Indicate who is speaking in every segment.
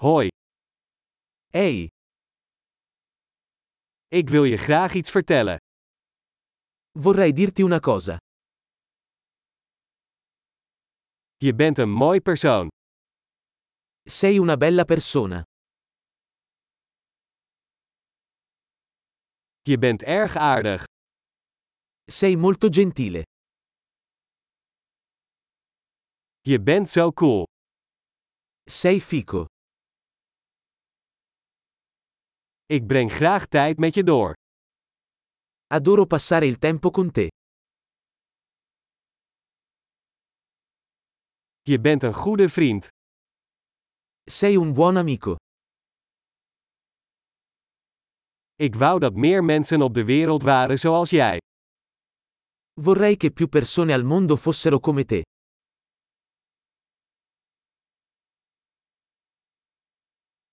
Speaker 1: Hoi,
Speaker 2: Hey,
Speaker 1: ik wil je graag iets vertellen.
Speaker 2: vorrei dirti una cosa.
Speaker 1: Je bent een mooi persoon.
Speaker 2: Sei una bella persona.
Speaker 1: Je bent erg aardig.
Speaker 2: Sei molto gentile.
Speaker 1: Je bent zo cool.
Speaker 2: Sei fico.
Speaker 1: Ik breng graag tijd met je door.
Speaker 2: Adoro passare il tempo con te.
Speaker 1: Je bent een goede vriend.
Speaker 2: Sei un buon amico.
Speaker 1: Ik wou dat meer mensen op de wereld waren zoals jij.
Speaker 2: Vorrei che più persone al mondo fossero come te.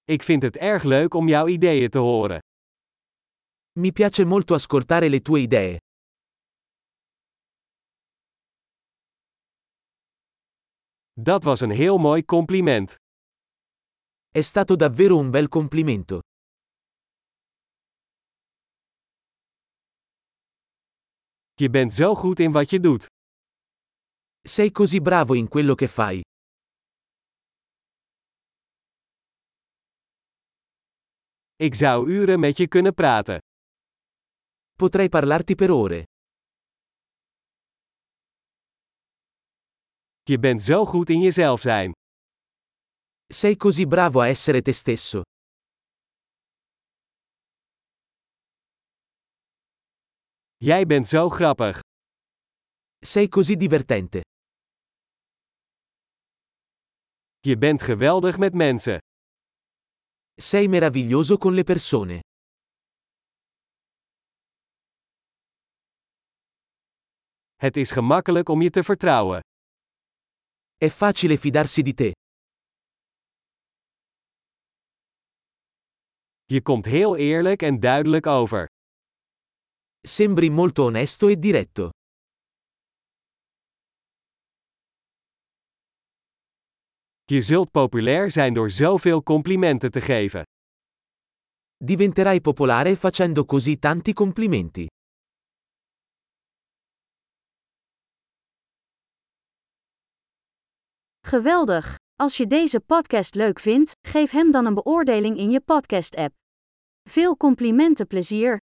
Speaker 1: Ik vind het erg leuk om jouw ideeën te horen.
Speaker 2: Mi piace molto ascoltare le tue idee.
Speaker 1: Dat was een heel mooi compliment.
Speaker 2: È stato davvero un bel complimento.
Speaker 1: Je bent zo goed in wat je doet.
Speaker 2: Sei così bravo in quello che fai.
Speaker 1: Ik zou uren met je kunnen praten.
Speaker 2: Potrei parlarti per ore.
Speaker 1: Je bent zo goed in jezelf zijn.
Speaker 2: Sei così bravo a essere te stesso.
Speaker 1: Jij bent zo grappig.
Speaker 2: Sei così divertente.
Speaker 1: Je bent geweldig met mensen.
Speaker 2: Sei meraviglioso con le persone.
Speaker 1: Het is gemakkelijk om je te vertrouwen.
Speaker 2: È facile fidarsi di te.
Speaker 1: Je komt heel eerlijk en duidelijk over.
Speaker 2: Sembri molto onesto e diretto.
Speaker 1: Je zult populair zijn door zoveel complimenten te geven.
Speaker 2: Diventerai popolare facendo così tanti complimenti.
Speaker 3: Geweldig! Als je deze podcast leuk vindt, geef hem dan een beoordeling in je podcast-app. Veel complimenten plezier!